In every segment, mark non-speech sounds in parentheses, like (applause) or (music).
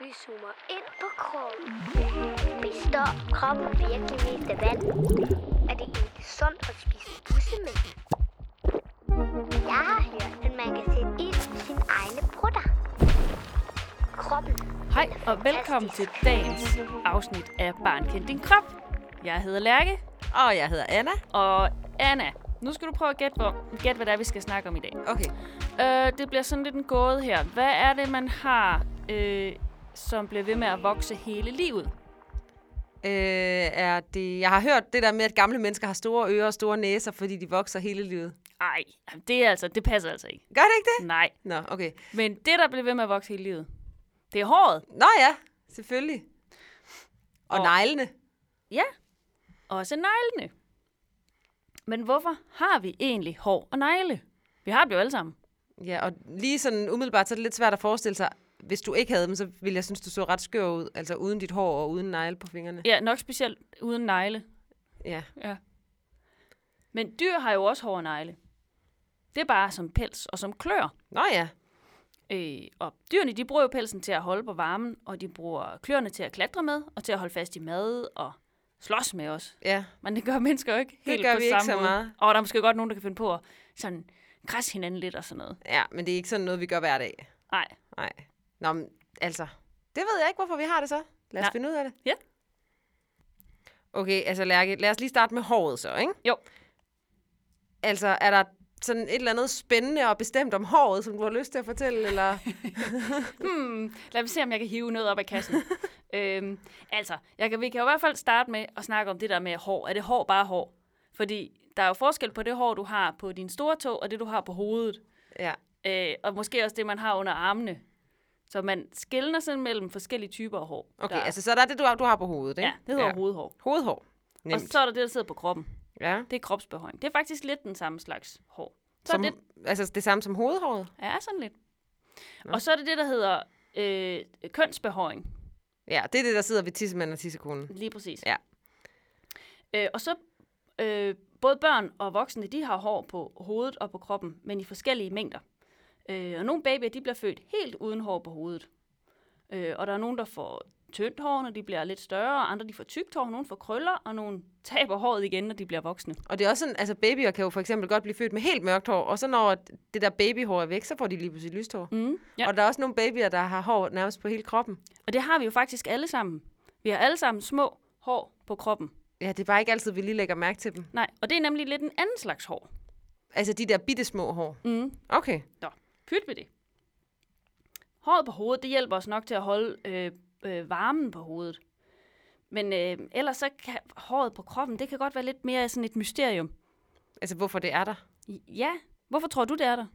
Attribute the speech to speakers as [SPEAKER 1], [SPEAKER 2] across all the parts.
[SPEAKER 1] Vi zoomer ind på kroppen. Består kroppen virkelig mest af vand? Er det egentlig sundt at spise bussemænd? Jeg har hørt, at man kan sætte ild i sine egne brutter. Kroppen.
[SPEAKER 2] Hej og velkommen til dagens afsnit af Barn Kend Din Krop. Jeg hedder Lærke,
[SPEAKER 3] Og jeg hedder Anna.
[SPEAKER 2] og Anna, nu skal du prøve at gætte, hvor, gætte hvad det er, vi skal snakke om i dag.
[SPEAKER 3] Okay.
[SPEAKER 2] Øh, det bliver sådan lidt en gåde her. Hvad er det, man har, øh, som bliver ved med at vokse hele livet?
[SPEAKER 3] Øh, er det, jeg har hørt det der med, at gamle mennesker har store ører og store næser, fordi de vokser hele livet.
[SPEAKER 2] Ej, jamen, det, er altså, det passer altså ikke.
[SPEAKER 3] Gør det ikke det?
[SPEAKER 2] Nej,
[SPEAKER 3] Nå, okay.
[SPEAKER 2] men det, der bliver ved med at vokse hele livet, det er håret.
[SPEAKER 3] Nå ja, selvfølgelig. Og, og
[SPEAKER 2] Og-
[SPEAKER 3] neglene.
[SPEAKER 2] Ja, også neglene. Men hvorfor har vi egentlig hår og negle? Vi har det jo alle sammen.
[SPEAKER 3] Ja, og lige sådan umiddelbart, så er det lidt svært at forestille sig, hvis du ikke havde dem, så ville jeg synes, du så ret skør ud. Altså uden dit hår og uden negle på fingrene.
[SPEAKER 2] Ja, nok specielt uden negle.
[SPEAKER 3] Ja.
[SPEAKER 2] Ja. Men dyr har jo også hår og negle. Det er bare som pels og som klør.
[SPEAKER 3] Nå ja.
[SPEAKER 2] Øh, og dyrene, de bruger jo pelsen til at holde på varmen, og de bruger kløerne til at klatre med, og til at holde fast i mad og slås med os.
[SPEAKER 3] Ja.
[SPEAKER 2] Men det gør mennesker jo ikke helt
[SPEAKER 3] gør
[SPEAKER 2] på
[SPEAKER 3] vi ikke
[SPEAKER 2] samme
[SPEAKER 3] så
[SPEAKER 2] måde.
[SPEAKER 3] meget.
[SPEAKER 2] Og der er måske godt nogen, der kan finde på at sådan krasse hinanden lidt og sådan noget.
[SPEAKER 3] Ja, men det er ikke sådan noget, vi gør hver dag.
[SPEAKER 2] Nej,
[SPEAKER 3] Nej. Nå, men, altså, det ved jeg ikke, hvorfor vi har det så. Lad os
[SPEAKER 2] Nej.
[SPEAKER 3] Nej. finde ud af det.
[SPEAKER 2] Ja.
[SPEAKER 3] Okay, altså Lærke, lad os lige starte med håret så, ikke?
[SPEAKER 2] Jo.
[SPEAKER 3] Altså, er der sådan et eller andet spændende og bestemt om håret, som du har lyst til at fortælle,
[SPEAKER 2] (laughs)
[SPEAKER 3] eller?
[SPEAKER 2] Hmm, lad mig se, om jeg kan hive noget op af
[SPEAKER 3] (laughs)
[SPEAKER 2] kassen. øhm, altså, jeg kan, vi kan jo i hvert fald starte med at snakke om det der med hår. Er det hår bare hår? Fordi der er jo forskel på det hår, du har på din store tog, og det, du har på hovedet.
[SPEAKER 3] Ja.
[SPEAKER 2] Øh, og måske også det, man har under armene. Så man skældner sådan mellem forskellige typer af hår.
[SPEAKER 3] Okay,
[SPEAKER 2] der,
[SPEAKER 3] altså så er der det, du har, du har på hovedet, ikke?
[SPEAKER 2] Ja, det hedder ja. hovedhår.
[SPEAKER 3] Hovedhår.
[SPEAKER 2] Og
[SPEAKER 3] Nemt.
[SPEAKER 2] så er der det, der sidder på kroppen.
[SPEAKER 3] ja.
[SPEAKER 2] Det er kropsbehøjning. Det er faktisk lidt den samme slags hår. Så er
[SPEAKER 3] Som,
[SPEAKER 2] det
[SPEAKER 3] Altså det samme som hovedhåret?
[SPEAKER 2] Ja, sådan lidt. Og så er det det, der hedder øh, kønsbehøring.
[SPEAKER 3] Ja, det er det, der sidder ved tissemanden og tissekonen.
[SPEAKER 2] Lige præcis.
[SPEAKER 3] Ja.
[SPEAKER 2] Øh, og så øh, både børn og voksne, de har hår på hovedet og på kroppen, men i forskellige mængder. Øh, og nogle babyer, de bliver født helt uden hår på hovedet. Øh, og der er nogen, der får tyndt hår, når de bliver lidt større, og andre de får tykt hår, nogle får krøller, og nogle (laughs) taber håret igen, når de bliver voksne.
[SPEAKER 3] Og det er også sådan, altså babyer kan jo for eksempel godt blive født med helt mørkt hår, og så når det der babyhår er væk, så får de lige pludselig lyst hår.
[SPEAKER 2] Mm,
[SPEAKER 3] Ja. Og der er også nogle babyer, der har hår nærmest på hele kroppen.
[SPEAKER 2] Og det har vi jo faktisk alle sammen. Vi har alle sammen små hår på kroppen.
[SPEAKER 3] Ja, det er bare ikke altid, vi lige lægger mærke til dem.
[SPEAKER 2] Nej, og det er nemlig lidt en anden slags hår.
[SPEAKER 3] Altså de der bitte små hår.
[SPEAKER 2] Mm.
[SPEAKER 3] Okay.
[SPEAKER 2] Nå, pyt med det. Håret på hovedet, det hjælper os nok til at holde øh, øh, varmen på hovedet. Men øh, ellers så kan håret på kroppen, det kan godt være lidt mere sådan et mysterium.
[SPEAKER 3] Altså hvorfor det er der?
[SPEAKER 2] I- Ja, hvorfor tror du, det er der?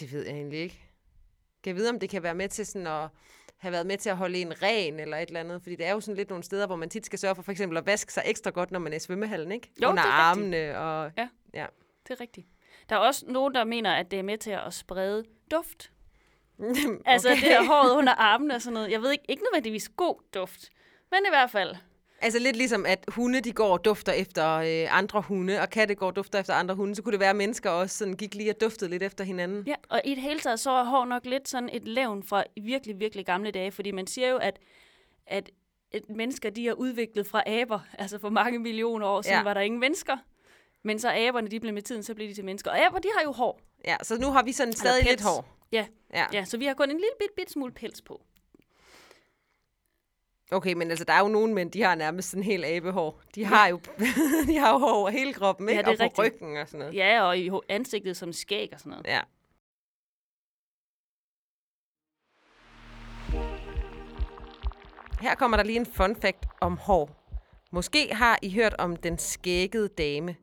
[SPEAKER 3] Det ved jeg egentlig ikke. Kan jeg vide, om det kan være med til sådan at have været med til at holde en ren eller et eller andet? Fordi det er jo sådan lidt nogle steder, hvor man tit skal sørge for for eksempel at vaske sig ekstra godt, når man er i svømmehallen, ikke?
[SPEAKER 2] Jo,
[SPEAKER 3] Under
[SPEAKER 2] det er rigtigt.
[SPEAKER 3] armene og...
[SPEAKER 2] Ja.
[SPEAKER 3] ja. (laughs)
[SPEAKER 2] Det er rigtigt. Der er også nogen, der mener, at det er med til at sprede duft. Altså okay. det her håret under armen og sådan noget. Jeg ved ikke, ikke nødvendigvis god duft, men i hvert fald.
[SPEAKER 3] Altså lidt ligesom, at hunde de går og dufter efter øh, andre hunde, og katte går og dufter efter andre hunde, så kunne det være, at mennesker også sådan gik lige og duftede lidt efter hinanden.
[SPEAKER 2] Ja, og i det hele taget, så er hår nok lidt sådan et levn fra virkelig, virkelig gamle dage, fordi man siger jo, at, at at mennesker, de er udviklet fra aber. (laughs) Altså for mange millioner år siden ja.
[SPEAKER 3] Ja.
[SPEAKER 2] var der ingen mennesker. Men så aberne, de blev med tiden, så blev de til mennesker. Og aber, de har jo hår.
[SPEAKER 3] Ja, så nu har vi sådan stadig lidt
[SPEAKER 2] pels.
[SPEAKER 3] hår.
[SPEAKER 2] Ja,
[SPEAKER 3] Ja.
[SPEAKER 2] ja så vi har kun en lille bit, bit smule pels på.
[SPEAKER 3] Okay, men altså, der er jo nogle mænd, de har nærmest sådan helt abehår. De har jo, (laughs) de har jo hår over hele kroppen,
[SPEAKER 2] Ja,
[SPEAKER 3] ikke?
[SPEAKER 2] det er
[SPEAKER 3] og på
[SPEAKER 2] rigtigt.
[SPEAKER 3] ryggen og sådan noget.
[SPEAKER 2] Ja, og i ho- ansigtet som skæg og sådan noget.
[SPEAKER 3] Ja. Her kommer der lige en fun fact om hår. Måske har I hørt om den skæggede dame.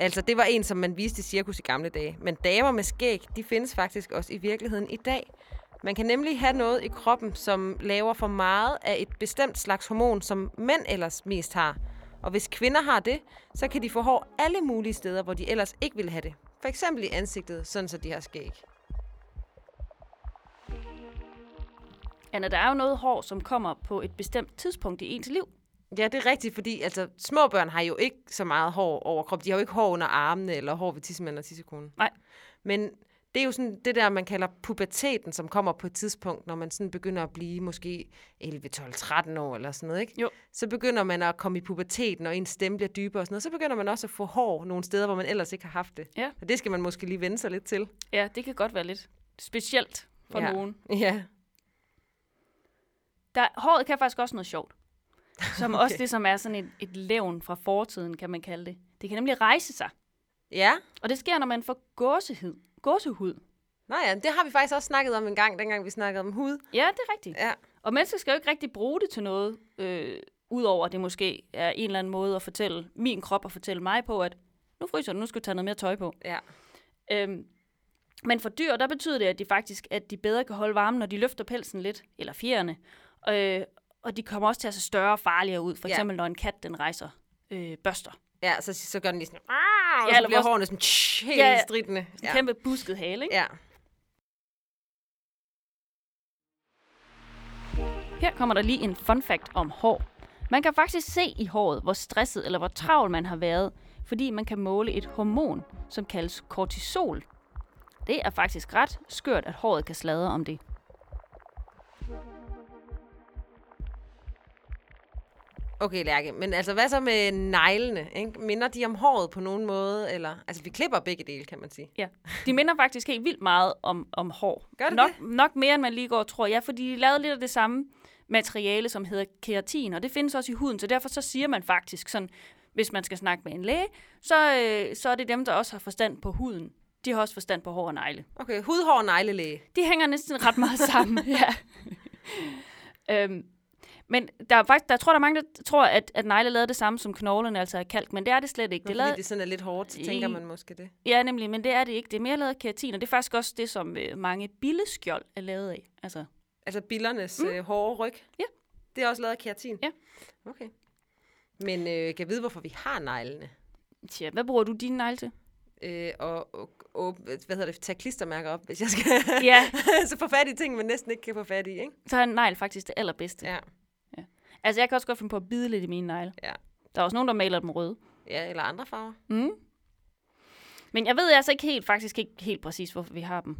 [SPEAKER 3] Altså, det var en, som man viste i cirkus i gamle dage. Men damer med skæg, de findes faktisk også i virkeligheden i dag. Man kan nemlig have noget i kroppen, som laver for meget af et bestemt slags hormon, som mænd ellers mest har. Og hvis kvinder har det, så kan de få hår alle mulige steder, hvor de ellers ikke ville have det. For eksempel i ansigtet, sådan så de har skæg.
[SPEAKER 2] Anna, der er jo noget hår, som kommer på et bestemt tidspunkt i ens liv.
[SPEAKER 3] Ja, det er rigtigt, fordi altså, små børn har jo ikke så meget hår over kroppen. De har jo ikke hår under armene eller hår ved tissemanden og tissekonen.
[SPEAKER 2] Nej.
[SPEAKER 3] Men Det er jo sådan det der, man kalder puberteten, som kommer på et tidspunkt, når man sådan begynder at blive måske 11, 12, 13 år eller sådan noget, ikke?
[SPEAKER 2] Jo.
[SPEAKER 3] Så begynder man at komme i puberteten, og ens stemme bliver dybere og sådan noget. Så begynder man også at få hår nogle steder, hvor man ellers ikke har haft det.
[SPEAKER 2] Ja.
[SPEAKER 3] Og det skal man måske lige vende sig lidt til.
[SPEAKER 2] Ja, det kan godt være lidt specielt for
[SPEAKER 3] ja.
[SPEAKER 2] ja. nogen.
[SPEAKER 3] Ja.
[SPEAKER 2] Der, håret kan faktisk også noget sjovt. Som okay. også det, som er sådan et, et levn fra fortiden, kan man kalde det. Det kan nemlig rejse sig.
[SPEAKER 3] Ja.
[SPEAKER 2] Og det sker, når man får gåsehud. gåsehud.
[SPEAKER 3] Nå ja, det har vi faktisk også snakket om en gang, dengang vi snakkede om hud.
[SPEAKER 2] Ja, det er rigtigt.
[SPEAKER 3] Ja.
[SPEAKER 2] Og mennesker skal jo ikke rigtig bruge det til noget, øh, udover at det måske er en eller anden måde at fortælle min krop og fortælle mig på, at nu fryser du, nu skal du tage noget mere tøj på.
[SPEAKER 3] Ja.
[SPEAKER 2] Øhm, men for dyr, der betyder det, at de faktisk at de bedre kan holde varmen, når de løfter pelsen lidt, eller fjerne. Øh, og de kommer også til at se større og farligere ud. For
[SPEAKER 3] Ja.
[SPEAKER 2] eksempel, når en kat den rejser øh, børster.
[SPEAKER 3] Ja, så, så gør den lige sådan, "Arr", og
[SPEAKER 2] Ja,
[SPEAKER 3] ja, så
[SPEAKER 2] eller
[SPEAKER 3] bliver
[SPEAKER 2] hvor-
[SPEAKER 3] hårene sådan tsh, helt
[SPEAKER 2] Ja,
[SPEAKER 3] ja,
[SPEAKER 2] ja.
[SPEAKER 3] stridende.
[SPEAKER 2] En ja. kæmpe busket hale, ikke?
[SPEAKER 3] ja.
[SPEAKER 2] Her kommer der lige en fun fact om hår. Man kan faktisk se i håret, hvor stresset eller hvor travl man har været, fordi man kan måle et hormon, som kaldes kortisol. Det er faktisk ret skørt, at håret kan sladre om det.
[SPEAKER 3] Okay, Lærke, men altså hvad så med neglene? Ikke? Minder de om håret på nogen måde? Eller? Altså vi klipper begge dele, kan man sige.
[SPEAKER 2] Ja. De minder faktisk helt vildt meget om, om hår.
[SPEAKER 3] Gør det
[SPEAKER 2] nok,
[SPEAKER 3] det?
[SPEAKER 2] nok mere, end man lige går og tror. Ja, fordi de lavede lidt af det samme materiale, som hedder keratin, og det findes også i huden, så derfor så siger man faktisk sådan, hvis man skal snakke med en læge, så, øh, så er det dem, der også har forstand på huden. De har også forstand på hår og negle.
[SPEAKER 3] Okay, hud, hår og neglelæge.
[SPEAKER 2] De hænger næsten ret
[SPEAKER 3] (laughs)
[SPEAKER 2] meget sammen, ja. øhm, men der er faktisk, der tror, der er mange, der tror, at, at negle lavede det samme som knoglerne, altså af kalk, men det er det slet ikke.
[SPEAKER 3] Det
[SPEAKER 2] Det
[SPEAKER 3] Fordi
[SPEAKER 2] lavede,
[SPEAKER 3] det sådan er lidt hårdt, så tænker man måske det.
[SPEAKER 2] Ja, nemlig, men det er det ikke. Det er mere lavet af keratin, og det er faktisk også det, som øh, mange billeskjold er lavet af. Altså,
[SPEAKER 3] Altså billernes mm. øh, hårde ryg.
[SPEAKER 2] Ja.
[SPEAKER 3] Det er også lavet af keratin.
[SPEAKER 2] Ja.
[SPEAKER 3] Okay. Men øh, kan jeg vide, hvorfor vi har neglene?
[SPEAKER 2] tja, hvad bruger du dine negle til?
[SPEAKER 3] Øh, og, og, og, hvad hedder det, tage klistermærker op, hvis jeg skal.
[SPEAKER 2] (laughs) Ja.
[SPEAKER 3] (laughs) så få fat i ting, man næsten ikke kan få fat i, ikke?
[SPEAKER 2] Så er en negl faktisk det allerbedste. Ja.
[SPEAKER 3] Ja.
[SPEAKER 2] Altså, jeg kan også godt finde på at bide lidt i mine negle.
[SPEAKER 3] Ja.
[SPEAKER 2] Der er også nogen, der maler dem røde.
[SPEAKER 3] ja, eller andre
[SPEAKER 2] (laughs)
[SPEAKER 3] farver.
[SPEAKER 2] Men jeg ved altså ikke helt, faktisk ikke helt præcis, hvorfor vi har dem.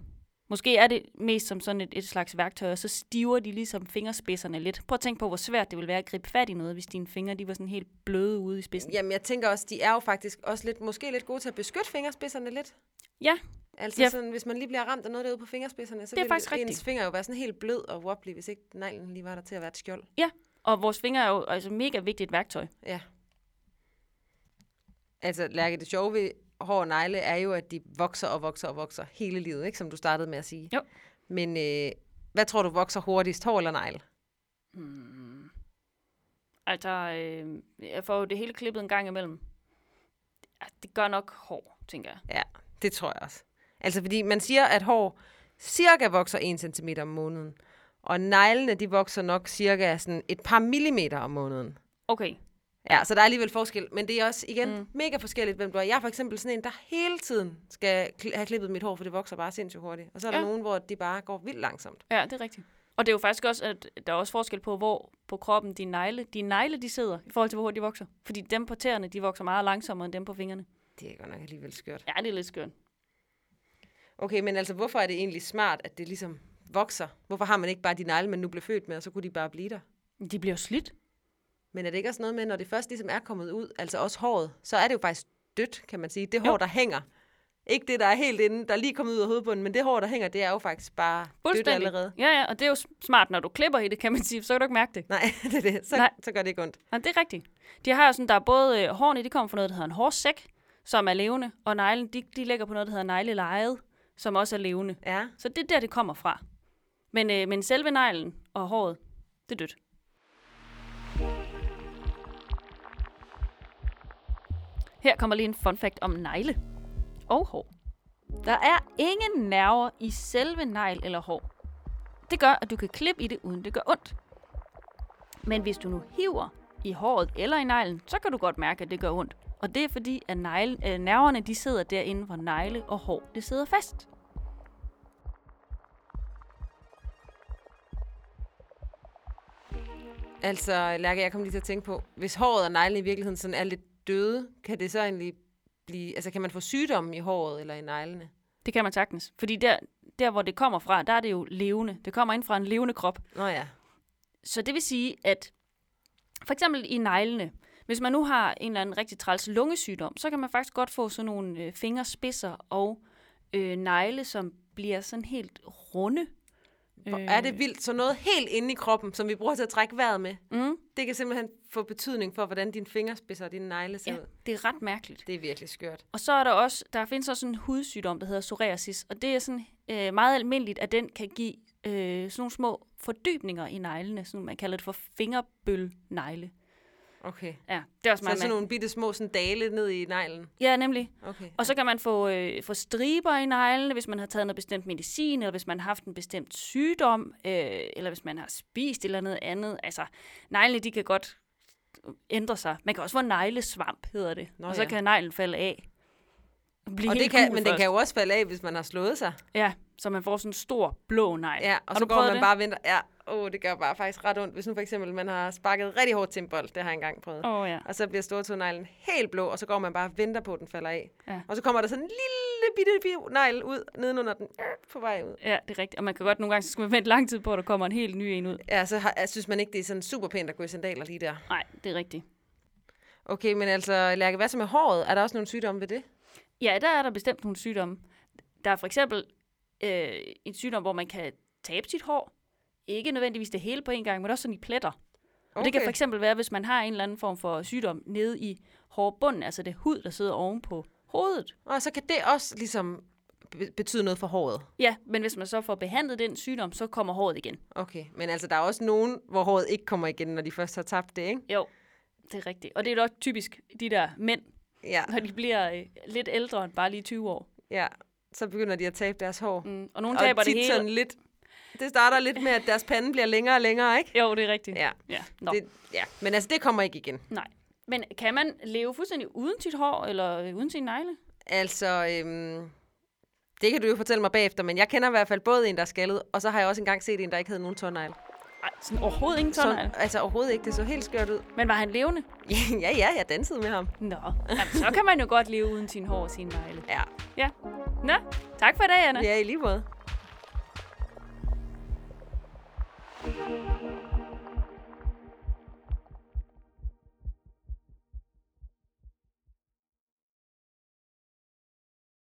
[SPEAKER 2] Måske er det mest som sådan et, et slags værktøj, og så stiver de ligesom fingerspidserne lidt. Prøv at tænke på, hvor svært det ville være at gribe fat i noget, hvis dine fingre de var sådan helt bløde ude i spidsen.
[SPEAKER 3] Jamen, jeg tænker også, de er jo faktisk også lidt, måske lidt gode til at beskytte fingerspidserne lidt.
[SPEAKER 2] Ja,
[SPEAKER 3] Altså, ja.
[SPEAKER 2] Ja.
[SPEAKER 3] sådan, hvis man lige bliver ramt af noget derude på fingerspidserne, så
[SPEAKER 2] Det er
[SPEAKER 3] vil
[SPEAKER 2] faktisk
[SPEAKER 3] ens
[SPEAKER 2] rigtigt.
[SPEAKER 3] finger jo være sådan helt blød og wobbly, hvis ikke neglen lige var der til at være et skjold.
[SPEAKER 2] ja. Og vores fingre er jo altså mega vigtigt værktøj.
[SPEAKER 3] Ja. Altså, Lærke, det sjove ved hår og negle er jo, at de vokser og vokser og vokser hele livet, ikke? Som du startede med at sige.
[SPEAKER 2] Jo.
[SPEAKER 3] Men øh, hvad tror du vokser hurtigst, hår eller negle?
[SPEAKER 2] Altså, øh, jeg får jo det hele klippet en gang imellem. Ja, det gør nok hår, tænker jeg.
[SPEAKER 3] Ja, det tror jeg også. Altså, fordi man siger, at hår cirka vokser 1 cm om måneden. Og neglene, de vokser nok cirka sådan et par millimeter om måneden.
[SPEAKER 2] Okay.
[SPEAKER 3] Ja, så der er alligevel forskel, men det er også igen mm. mega forskelligt, hvem du er. Jeg er for eksempel sådan en, der hele tiden skal kl- have klippet mit hår, for det vokser bare sindssygt hurtigt. Og så er der
[SPEAKER 2] Ja.
[SPEAKER 3] nogen, hvor de bare går vildt langsomt.
[SPEAKER 2] Ja, det er rigtigt. Og det er jo faktisk også, at der er også forskel på, hvor på kroppen de negle, de negle de sidder, i forhold til, hvor hurtigt de vokser. Fordi dem på tæerne, de vokser meget langsommere end dem på fingrene.
[SPEAKER 3] Det er godt nok alligevel skørt.
[SPEAKER 2] Ja, det er lidt skørt.
[SPEAKER 3] Okay, men altså, hvorfor er det egentlig smart, at det ligesom vokser? Hvorfor har man ikke bare de negle, man nu blev født med, og så kunne de bare blive der?
[SPEAKER 2] De bliver jo slidt.
[SPEAKER 3] Men er det ikke også noget med, når det først ligesom er kommet ud, altså også håret, så er det jo faktisk dødt, kan man sige. Det hår, der hænger. Ikke det, der er helt inde, der er lige er kommet ud af hovedbunden, men det hår, der hænger, det er jo faktisk bare dødt
[SPEAKER 2] Fuldstændig.
[SPEAKER 3] allerede.
[SPEAKER 2] Ja, ja, og det er jo s- smart, når du klipper i det, kan man sige, for så kan du ikke mærke det.
[SPEAKER 3] Nej, (laughs) det er det. Så,
[SPEAKER 2] Nej.
[SPEAKER 3] så gør det ikke ondt.
[SPEAKER 2] Ja, det er rigtigt. De har jo sådan, der er både øh, hårene, de kommer fra noget, der hedder en hårsæk, som er levende, og neglen, de, de ligger på noget, der hedder neglelejet, som også er levende.
[SPEAKER 3] Ja.
[SPEAKER 2] Så det er der, det kommer fra. Men, øh, men selve neglen og håret, det er dødt. Her kommer lige en fun fact om negle og hår. Der er ingen nerver i selve negl eller hår. Det gør, at du kan klippe i det, uden det gør ondt. Men hvis du nu hiver i håret eller i neglen, så kan du godt mærke, at det gør ondt. Og det er fordi, at negle, øh, nerverne de sidder derinde, hvor negle og hår det sidder fast.
[SPEAKER 3] Altså, Lærke, jeg kom lige til at tænke på, hvis håret og neglene i virkeligheden sådan er lidt døde, kan det så egentlig blive, altså kan man få sygdomme i håret eller i neglene?
[SPEAKER 2] Det kan man sagtens. Fordi der, der, hvor det kommer fra, der er det jo levende. Det kommer ind fra en levende krop.
[SPEAKER 3] Nå ja.
[SPEAKER 2] Så det vil sige, at for eksempel i neglene, hvis man nu har en eller anden rigtig træls lungesygdom, så kan man faktisk godt få sådan nogle øh, fingerspidser og øh, negle, som bliver sådan helt runde.
[SPEAKER 3] Hvor er
[SPEAKER 2] Øh.
[SPEAKER 3] det vildt. Så noget helt inde i kroppen, som vi bruger til at trække vejret med,
[SPEAKER 2] Mm,
[SPEAKER 3] det kan simpelthen få betydning for, hvordan dine fingerspidser og dine negle ser
[SPEAKER 2] ja,
[SPEAKER 3] ud.
[SPEAKER 2] det er ret mærkeligt.
[SPEAKER 3] Det er virkelig skørt.
[SPEAKER 2] Og så er der også, der findes også en hudsygdom, der hedder psoriasis, og det er sådan øh, meget almindeligt, at den kan give øh, sådan nogle små fordybninger i neglene, sådan man kalder det for fingerbølnegle.
[SPEAKER 3] Okay.
[SPEAKER 2] Ja, det er også
[SPEAKER 3] Så er
[SPEAKER 2] meget
[SPEAKER 3] sådan
[SPEAKER 2] mærkeligt.
[SPEAKER 3] nogle bitte små sådan dale ned i neglen.
[SPEAKER 2] Ja, nemlig.
[SPEAKER 3] Okay.
[SPEAKER 2] Og så kan man få, øh, få striber i neglene, hvis man har taget noget bestemt medicin, eller hvis man har haft en bestemt sygdom, øh, eller hvis man har spist eller noget andet. Altså, neglene, de kan godt ændre sig. Man kan også få neglesvamp, hedder det.
[SPEAKER 3] Nå
[SPEAKER 2] Nå, og så
[SPEAKER 3] ja.
[SPEAKER 2] ja. kan neglen falde af. Blive
[SPEAKER 3] og
[SPEAKER 2] helt
[SPEAKER 3] det kan,
[SPEAKER 2] gul
[SPEAKER 3] men den
[SPEAKER 2] først.
[SPEAKER 3] kan jo også falde af, hvis man har slået sig.
[SPEAKER 2] Ja, så man får sådan en stor blå negl.
[SPEAKER 3] Ja, og
[SPEAKER 2] Har
[SPEAKER 3] så
[SPEAKER 2] du
[SPEAKER 3] går
[SPEAKER 2] prøvet
[SPEAKER 3] man
[SPEAKER 2] det?
[SPEAKER 3] bare og venter. Ja, åh, det gør bare faktisk ret ondt. Hvis nu for eksempel man har sparket rigtig hårdt til en bold, det har jeg engang prøvet.
[SPEAKER 2] Åh, oh, ja.
[SPEAKER 3] Og så bliver stortåneglen helt blå, og så går man bare og venter på, at den falder af.
[SPEAKER 2] Ja.
[SPEAKER 3] Og så kommer der sådan en lille bitte, bitte negl ud, nedenunder den, øh, på vej ud.
[SPEAKER 2] Ja, det er rigtigt. Og man kan godt nogle gange, så skal man vente lang tid på, at der kommer en helt ny en ud.
[SPEAKER 3] Ja, så har, jeg synes man ikke, det er sådan super pænt at gå i sandaler lige der.
[SPEAKER 2] Nej, det er rigtigt.
[SPEAKER 3] Okay, men altså, Lærke, hvad så med håret? Er der også nogle sygdomme ved det?
[SPEAKER 2] Ja, der er der bestemt nogle sygdomme. Der er for eksempel øh, en sygdom, hvor man kan tabe sit hår. Ikke nødvendigvis det hele på en gang, men også sådan i pletter. Okay.
[SPEAKER 3] Okay.
[SPEAKER 2] Og det kan for eksempel være, hvis man har en eller anden form for sygdom nede i hårbunden, altså det hud, der sidder oven på hovedet.
[SPEAKER 3] Og så kan det også ligesom be- betyde noget for håret.
[SPEAKER 2] Ja, men hvis man så får behandlet den sygdom, så kommer håret igen.
[SPEAKER 3] Okay, men altså, der er også nogen, hvor håret ikke kommer igen, når de først har tabt det, ikke?
[SPEAKER 2] Jo, det er rigtigt. Og det er jo også typisk de der mænd,
[SPEAKER 3] Ja,
[SPEAKER 2] når de bliver øh, lidt ældre end bare lige 20 år.
[SPEAKER 3] ja. Så begynder de at tabe deres hår. Mm.
[SPEAKER 2] Mm, og nogle taber
[SPEAKER 3] Og
[SPEAKER 2] det
[SPEAKER 3] tit
[SPEAKER 2] hele.
[SPEAKER 3] sådan lidt... Det starter lidt med, at deres pande bliver længere og længere, ikke?
[SPEAKER 2] Jo, det er rigtigt.
[SPEAKER 3] Ja.
[SPEAKER 2] ja. Nå.
[SPEAKER 3] Det, ja, men altså, det kommer ikke igen.
[SPEAKER 2] Nej. Men kan man leve fuldstændig uden sit hår, eller øh, uden sin negle?
[SPEAKER 3] Altså, øhm, det kan du jo fortælle mig bagefter, men jeg kender i hvert fald både en, der er skaldet, og så har jeg også engang set en, der ikke havde nogen tårnegle.
[SPEAKER 2] Nej, sådan overhovedet ingen
[SPEAKER 3] Så,
[SPEAKER 2] tårnegle.
[SPEAKER 3] altså overhovedet ikke, det så helt skørt ud. (laughs)
[SPEAKER 2] Men var han levende?
[SPEAKER 3] ja, ja, jeg dansede med ham.
[SPEAKER 2] Nå, Jamen, så kan man jo godt leve uden sin hår og sin negle.
[SPEAKER 3] Ja,
[SPEAKER 2] Ja. Nå, tak for i dag, Anna.
[SPEAKER 3] ja i lige måde.